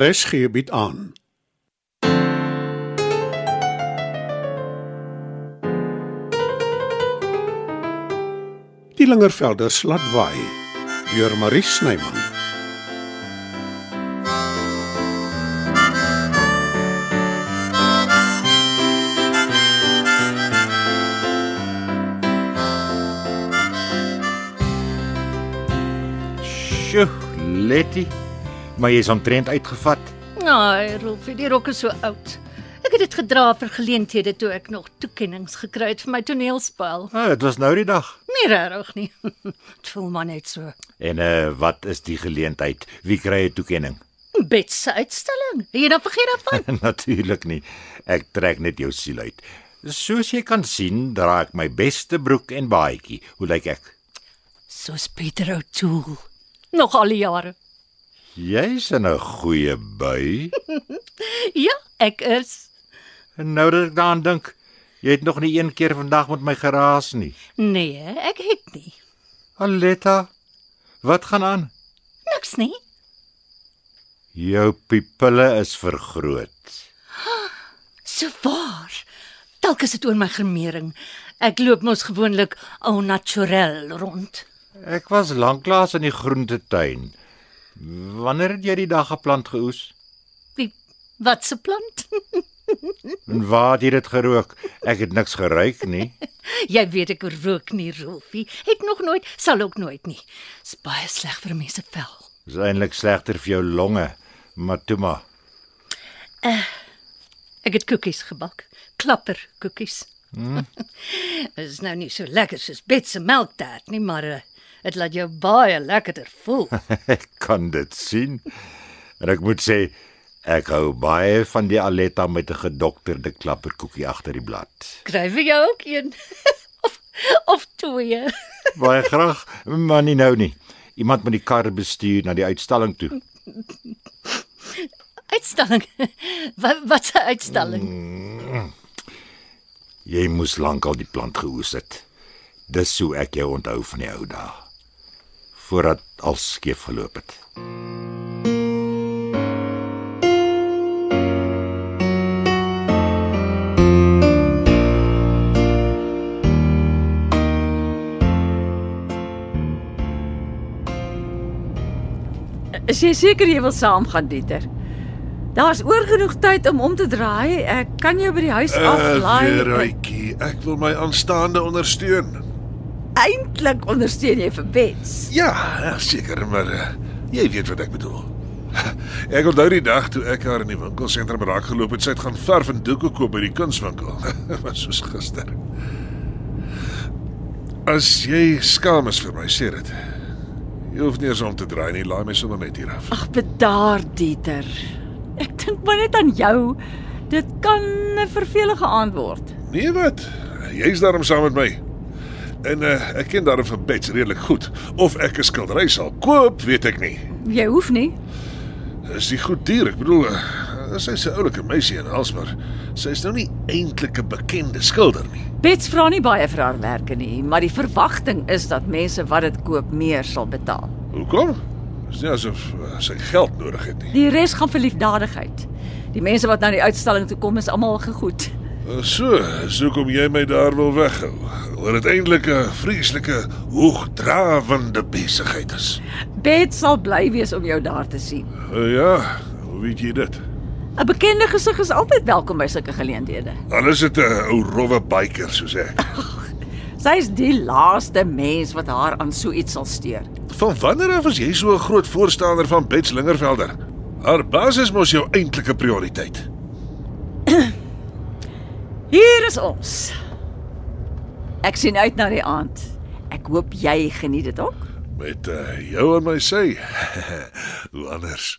RSG bied aan. Die Lingervelder slatwaai deur Marie Snyman. Sjoe, Letty. Maar jy's omtrent uitgevat. Ai, Nou, Rolfie, die rok is so oud. Ek het dit gedra vir geleenthede toe ek nog toekenninge gekry het vir my toneelspel. Ah, dit was nou die dag. Nie regtig nie. Dit voel maar net so. En eh uh, wat is die geleentheid? Wie kry 'n toekenning? Bet se uitstalling. Het Jy dan vergeet daarvan. Natuurlik nie. Ek trek net jou siel uit. Soos jy kan sien, dra ek my beste broek en baadjie. Hoe lyk ek? Soos Pieter O'Toole. Nog al die jare. Jy's in 'n goeie bui. Ja, ek is. En nou dat ek daaraan dink, jy het nog nie een keer vandag met my geraas nie. Nee, ek het nie. Aletta, wat gaan aan? Niks nie. Jou pupille is vergroot. So waar. Dalk is dit oor my gemering. Ek loop mos gewoonlik au naturel rond. Ek was lanklaas in die groentetuin. Wanneer het jy die dag geplant geoes? Die wat se plant? En waar het jy dit gerook? Ek het niks geruik nie. Jy weet ek rook nie, Rolfie. Het nog nooit, sal ook nooit nie. Dis baie sleg vir mense vel. Dis eintlik slegter vir jou longe, maar toe maar. Ek het koekies gebak, klapper koekies. Dit is nou nie so lekker soos Bet se melktert nie, maar eh, dit laat jou baie lekkerder voel. Ek kan dit sien. En ek moet sê ek hou baie van die Aletta met 'n gedokterde klapperkoekie agter die blad. Kry vir jou ook een of of twee. Baie graag, maar nie nou nie. Iemand met die kar bestuur na die uitstalling toe. Uitstalling. Wat wat 'n uitstalling. Mm. Jy moes lankal die plant geoes het. Dis hoe ek jou onthou van die ou dae. Voordat al skeef geloop het. Is jy seker jy wil saamgaan, Dieter? Daar's oor genoeg tyd om om te draai. Ek kan jou by die huis aflaai. Veruitjie, ek wil my aanstaande ondersteun. Eintlik ondersteun jy vir Bets. Ja, ja, seker, maar eh, jy weet wat ek bedoel. Ek onthou die dag toe ek haar in die winkelsentrum raakgeloop het, sy het gaan verf en doeke koop by die kunswinkel. Was soos gister. As jy skaam is vir my, sê dit. Jy hoef nie eens om te draai nie, laai my sommer net hier af. Ag, bedaar, Dieter. Ek dink maar net aan jou. Dit kan 'n vervelige aand word. Nee wat? Jy's daarom saam met my. En uh, ek ken daarom van Bets redelik goed. Of ek 'n skildery sal koop, weet ek nie. Jy hoef nie. Is die goed dier? Ek bedoel, eh, sy's 'n oulike meisie en alles, maar sy's nou nie eintlik 'n bekende skilder nie. Bets vra nie baie vir haar werke nie, maar die verwagting is dat mense wat dit koop meer sal betaal. Hoekom? Dis nie asof eh, sy geld nodig het nie. Die res gaan vir liefdadigheid. Die mense wat na die uitstalling toe kom is almal gegoed. Eh, So, so kom jy my daar wil weghou. Oor dit eintlik 'n vreeslike hoogdrawende besigheid is. Bet sal bly wees om jou daar te sien. Eh, Ja, hoe weet jy dit? 'n Bekende gesig is altyd welkom by sulke geleenthede. Al is dit 'n ou rowwe biker soos ek. Sy is die laaste mens wat haar aan so iets sal steur. Van wanneer af is jy so 'n groot voorstander van Bets Lingervelder? Haar baas is mos jou eintlike prioriteit. Hier is ons. Ek sien uit na die aand. Ek hoop jy geniet dit ook. Met eh, uh, jou en my sê. Hoe anders?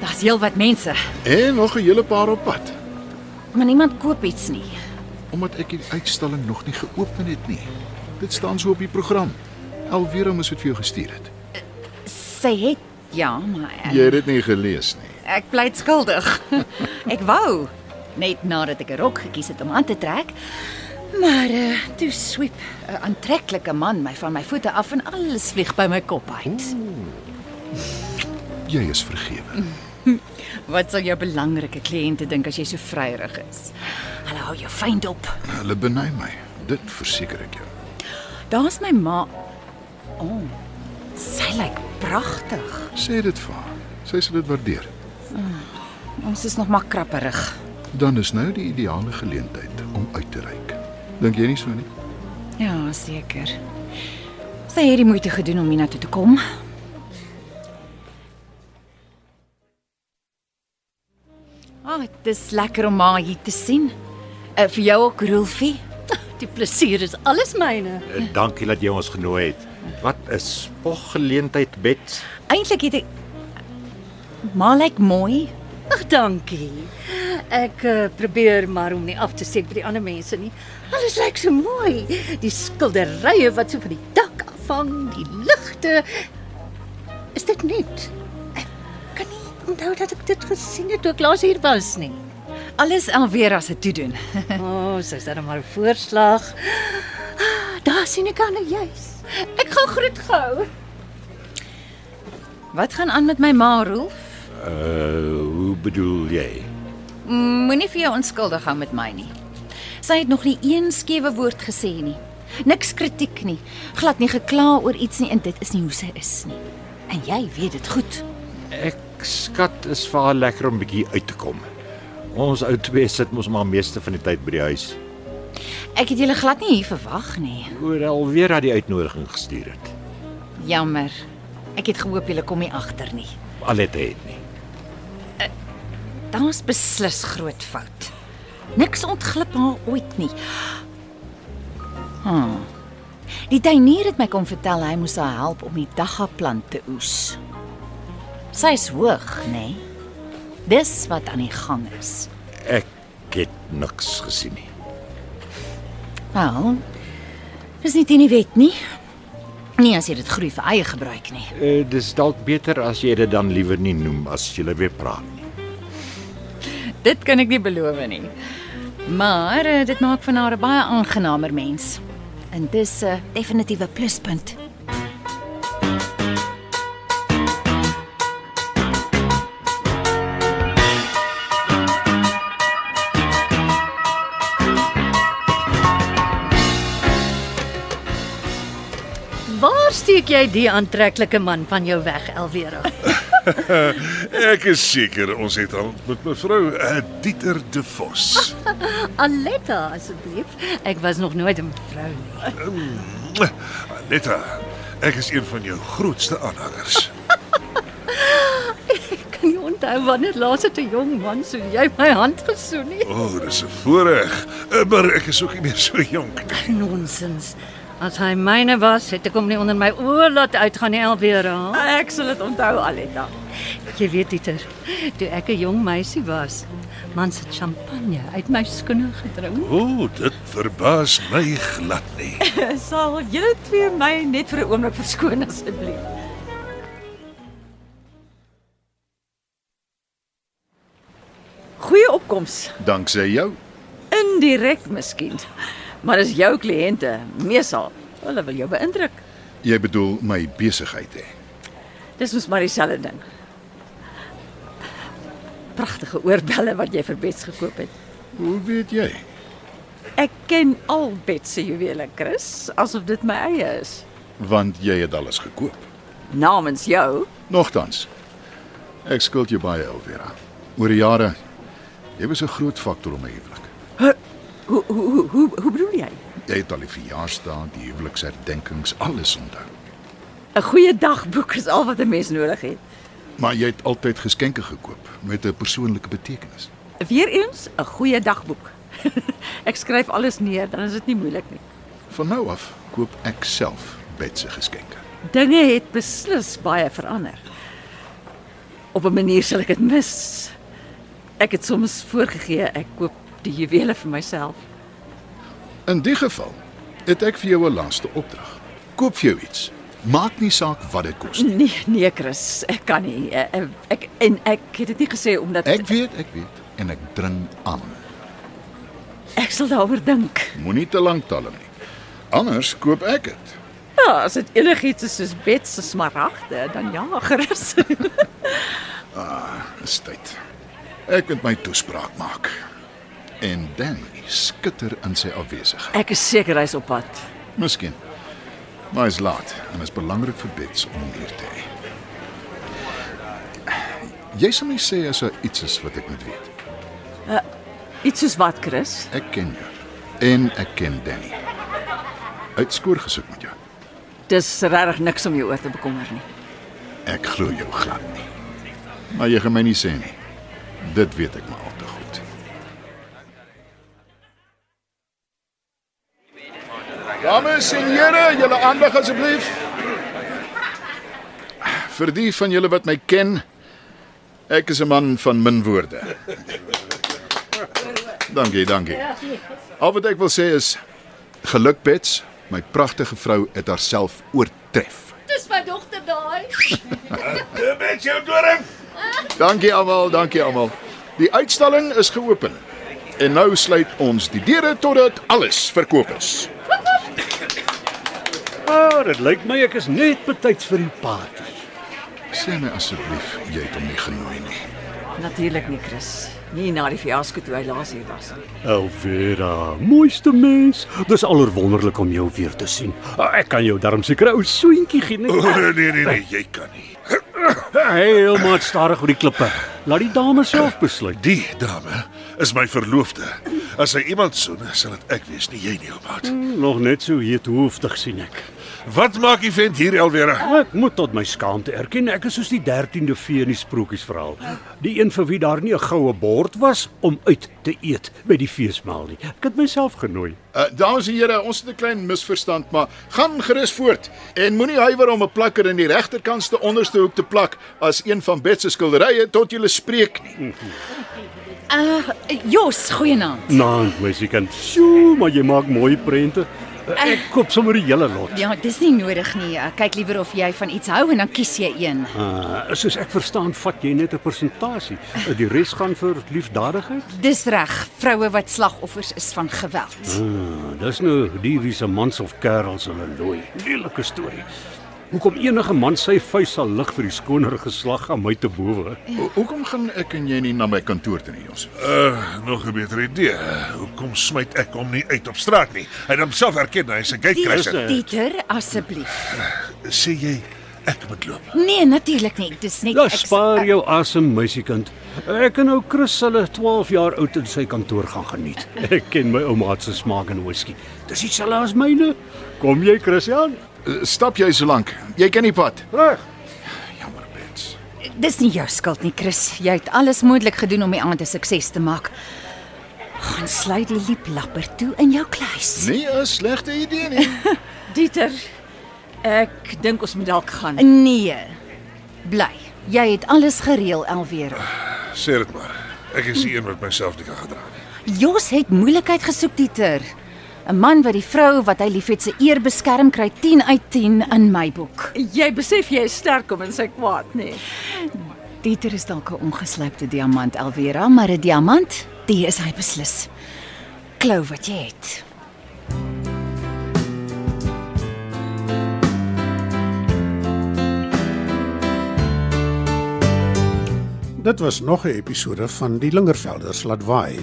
Daar's heelwat mense, En nog 'n hele paar op pad, maar niemand koop iets nie. omdat ek die uitstalling nog nie geopen het nie. Dit staan so op die program. Alvera moes dit vir jou gestuur het. Sy het ja, maar Jy het dit nie gelees nie. Ek pleit skuldig. Ek wou net nadat ek 'n rok gekies het om aan te trek, maar uh, toe swiep 'n aantreklike man my van my voete af en alles vlieg by my kop uit. Jy is vergewe. Wat sal jou belangrike kliënte dink as jy so vryerig is? Hulle hou jou fyn dop. Hulle beny my. Dit verseker ek jou. Daar's my ma. O. Oh, sy lyk pragtig. Sê dit vir haar. Sy sal dit waardeer. Ons is nog maar krapperig. Dan is nou die ideale geleentheid om uit te reik. Dink jy nie so nie? Ja, seker. Sy het die moeite gedoen om hiernatoe te kom. Ag, oh, dit is lekker om haar hier te sien. Uh, vir jou ook, Rolfie. Die plesier is alles myne. Eh, Dankie dat jy ons genooi het. Wat 'n spoggeleentheid, Bet. Eintlik het ek maar lyk mooi. Ag, dankie. Ek uh, probeer maar om nie af te sê vir die ander mense nie. Alles lyk so mooi. Die skilderye wat so van die dak afhang, die ligte. Is dit net? Ek kan nie onthou dat ek dit gesien het toe ek laas hier was nie. Alles alweer as dit toe doen. O, oh, sy's dan maar 'n voorslag. Ah, Daar sien ek aan nou juis. Ek gaan groet gou. Wat gaan aan met my ma, Rolf? Uh, hoe bedoel jy? Moenie vir jou onskuldig hou met my nie. Sy het nog nie een skewe woord gesê nie. Niks kritiek nie. Glad nie gekla oor iets nie en dit is nie hoe sy is nie. En jy weet dit goed. Ek skat is vir haar lekker om bietjie uit te kom. Ons ou twee sit mos maar meeste van die tyd by die huis. Ek het julle glad nie hier verwag nie. Oor alweer dat die uitnodiging gestuur het. Jammer. Ek het gehoop julle kom nie agter nie. Alette het nie. Daar's beslis groot fout. Niks ontglip haar ooit nie. Hm. Die tuinier het my kom vertel hy moes haar help om die daggaplant te oes. Sy's hoog, nê? Nee? Dis wat aan die gang is. Ek het niks gesien nie. Wel, dis nie teen die wet nie. Nie as jy dit groei vir eie gebruik nie. Uh, dis dalk beter as jy dit dan liewer nie noem as jy weer praat nie. Dit kan ek nie beloof nie. Maar eh, dit maak van haar 'n baie aangenaamer mens. En dis 'n definitiewe pluspunt. Waar steek jy die aantreklike man van jou weg, Elwera? Ek is seker ons het al met mevrou eh, Dieter De Vos. Aletta asseblief. Ek was nog nooit 'n vrou nie. Anetta, ek is een van jou grootste aanhangers. Ek kan nie onthou wanneer laas het 'n jong man so jy my hand gesoen het. O, oh, dis 'n voorreg. Eh, Maar ek is ook nie meer so jonk nie. Nonsens. As hy myne was, het ek hom nie onder my oë laat uitgaan nie, Elwera. Ek sal dit onthou Aletta. Jy weet Dieter, toe ek 'n jong meisie was, man se champagne uit my skoene gedrink. O, oh, dit verbaas my glad nie. Sal julle twee my net vir 'n oomblik verskoon asseblief? Goeie opkoms. Danksy jou. Indirek miskien. Maar as jou kliënte meesal, hulle wil jou beïndruk. Jy bedoel my besigheid hè. Dis mos maar dieselfde ding. Pragtige oorbelle wat jy vir Bets gekoop het. Hoe weet jy? Ek ken al Bets se juwele, Chris, asof dit my eie is. Want jy het alles gekoop. Namens jou. Nogtans. Ek skuld jou baie, Elvira. Oor die jare jy was 'n groot faktor om my huwelik. Hoe hoe hoe hoe, hoe bedoel jy? Jy het al die verjaarsdae, die huweliksherdenkings, alles onthou. 'n Goeie dagboek is al wat 'n mens nodig het. Maar jy het altyd geskenke gekoop met 'n persoonlike betekenis. Weereens 'n goeie dagboek. ek skryf alles neer, dan is dit nie moeilik nie. Van nou af koop ek self Bet se geskenke. Dinge het beslis baie verander. Op 'n manier sal ek dit mis. Ek het soms voorgegee ek koop die juwele vir myself. In die geval het ek vir jou 'n laaste opdrag. Koop vir jou iets Maak nie saak wat dit kos nie. Nee, nee Chris, ek kan nie. Ek, ek en ek het dit nie gesê omdat Ek weet, ek weet en ek dring aan. ek sal daaroor dink. Moenie te lank talm nie. Anders koop ek dit. Ja, as dit enigiets is soos bed se smaragde, dan ja, Chris. Dis tyd. Ek moet my toespraak maak. En Danny skitter in sy afwesigheid. ek is seker hy's op pad. Miskien. Maar is laat en is belangrik vir Bets om hom hier te hê. Jy sal my sê as daar iets is wat ek moet weet. Iets soos wat, Chris? Ek ken jou en ek ken Danny. Uitskoor gesoek met jou. Dis regtig niks om jou oor te bekommer nie. Ek glo jou glad nie. Maar jy gaan my nie sê nie. Dit weet ek maar al te goed. Dames en here, julle aandag asseblief. Vir die van julle wat my ken, ek is 'n man van min woorde. Dankie, dankie. Al wat ek wil sê is geluk Bets, my pragtige vrou het haarself oortref. Dis my dogter daai. Met jou doring. Dankie almal, dankie almal. Die uitstalling is geopen. En nou sluit ons die deure totdat alles verkoop is. Maar Ja, dit lyk my ek is net betyds vir die party. Sê my asseblief, jy het hom nie genooi nie. Natuurlik nie, Chris. Nie na die fiasco toe hy laas hier was nie. Elvera, mooiste mens. Dis allerwonderlik om jou weer te sien. Ah, Ek kan jou darm seker 'n ou soentjie gee O nie. nee nee nee, jy kan nie. Heelmaat stadig oor die klippe. Laat die dame self besluit. Die dame is my verloofde. As hy iemand soen, sal dit ek wees, nie jy nie, ou maat. Hmm, Nog net so heet hoofdig sien ek. Mm. Wat maak die vent hier alweer? Ek moet tot my skaamte erken, ek is soos die 13de vee in die sprokiesverhaal. Die een vir wie daar nie 'n goue bord was om uit te eet by die feesmaal nie. Ek het myself genooi. Uh, dames en here, ons het 'n klein misverstand, maar gaan gerus voort en moenie huiwer om 'n plakker in die regterkantste onderste hoek te plak as een van Bet se skilderye tot jy spreek nie. Uh Jos, goeienaand. Naand, meisiekind. Nou, Sjoe, maar jy maak mooi prente. Eh, Ek koop sommer die hele lot. Ja, dis nie nodig nie. Ek kyk liewer of jy van iets hou en dan kies jy een. Uh, soos ek verstaan, vat jy net 'n persentasie. Uh, Die res gaan vir liefdadigheid. Dis reg, vroue wat slagoffers is van geweld. Uh, dis nou die wiese mans of kerels hulle looi. Lelike storie. Hoekom enige man sy vuis sal lig vir die skoner geslag aan my te bowe? Ho hoekom gaan ek en jy nie na my kantoor toe nie, Jos? Uh, nog 'n beter idee. Hoekom smyt ek hom nie uit op straat nie? Hy het homself herken, hy's 'n gatecrasher. eh, Dieter, asseblief. Sê jy ek moet loop? Nee, natuurlik nie. Dis net Ja, spaar jou asem, meisiekind. Ek en ou Chris hulle 12 jaar oud in sy kantoor gaan geniet. Ek ken my ouma se smaak in whisky. Dis dieselfde as myne. Kom jy, Christian? Uh, Stap jy so lank. Jy ken die pad. Reg. Jammer, Bets. Dis nie jou skuld nie, Chris. Jy het alles moontlik gedoen om die aand 'n sukses te maak. Gaan sluit die lieplapper toe in jou kluis. Nie 'n slegte idee nie. Dieter, ek dink ons moet dalk gaan. Nee. Bly. Jy het alles gereël alweer. Sê dit maar. Ek is die een wat myself nie kan gedra nie. Jos het moeilikheid gesoek, Dieter. 'n Man wat die vrou wat hy liefhet se eer beskerm kry 10 uit 10 in my boek. Jy besef jy is sterk om in sy kwaad, nee. nê? Dieter is dalk 'n ongeslypte diamant, Alvera, maar 'n diamant, die is hy beslis. Klou wat jy het. Dit was nog 'n episode van Die Lingervelders laat waai.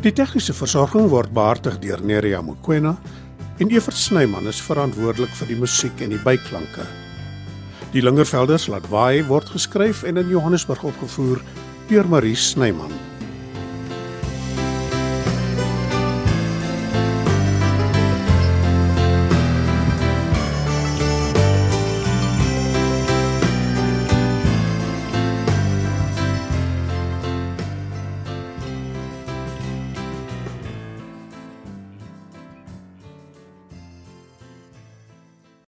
Die tegniese versorging word behartig deur Neriya Mukwena en Evert Snyman is verantwoordelik vir die musiek en die byklanke. Die Lingervelders laat waai word geskryf en in Johannesburg opgevoer deur Marie Snyman.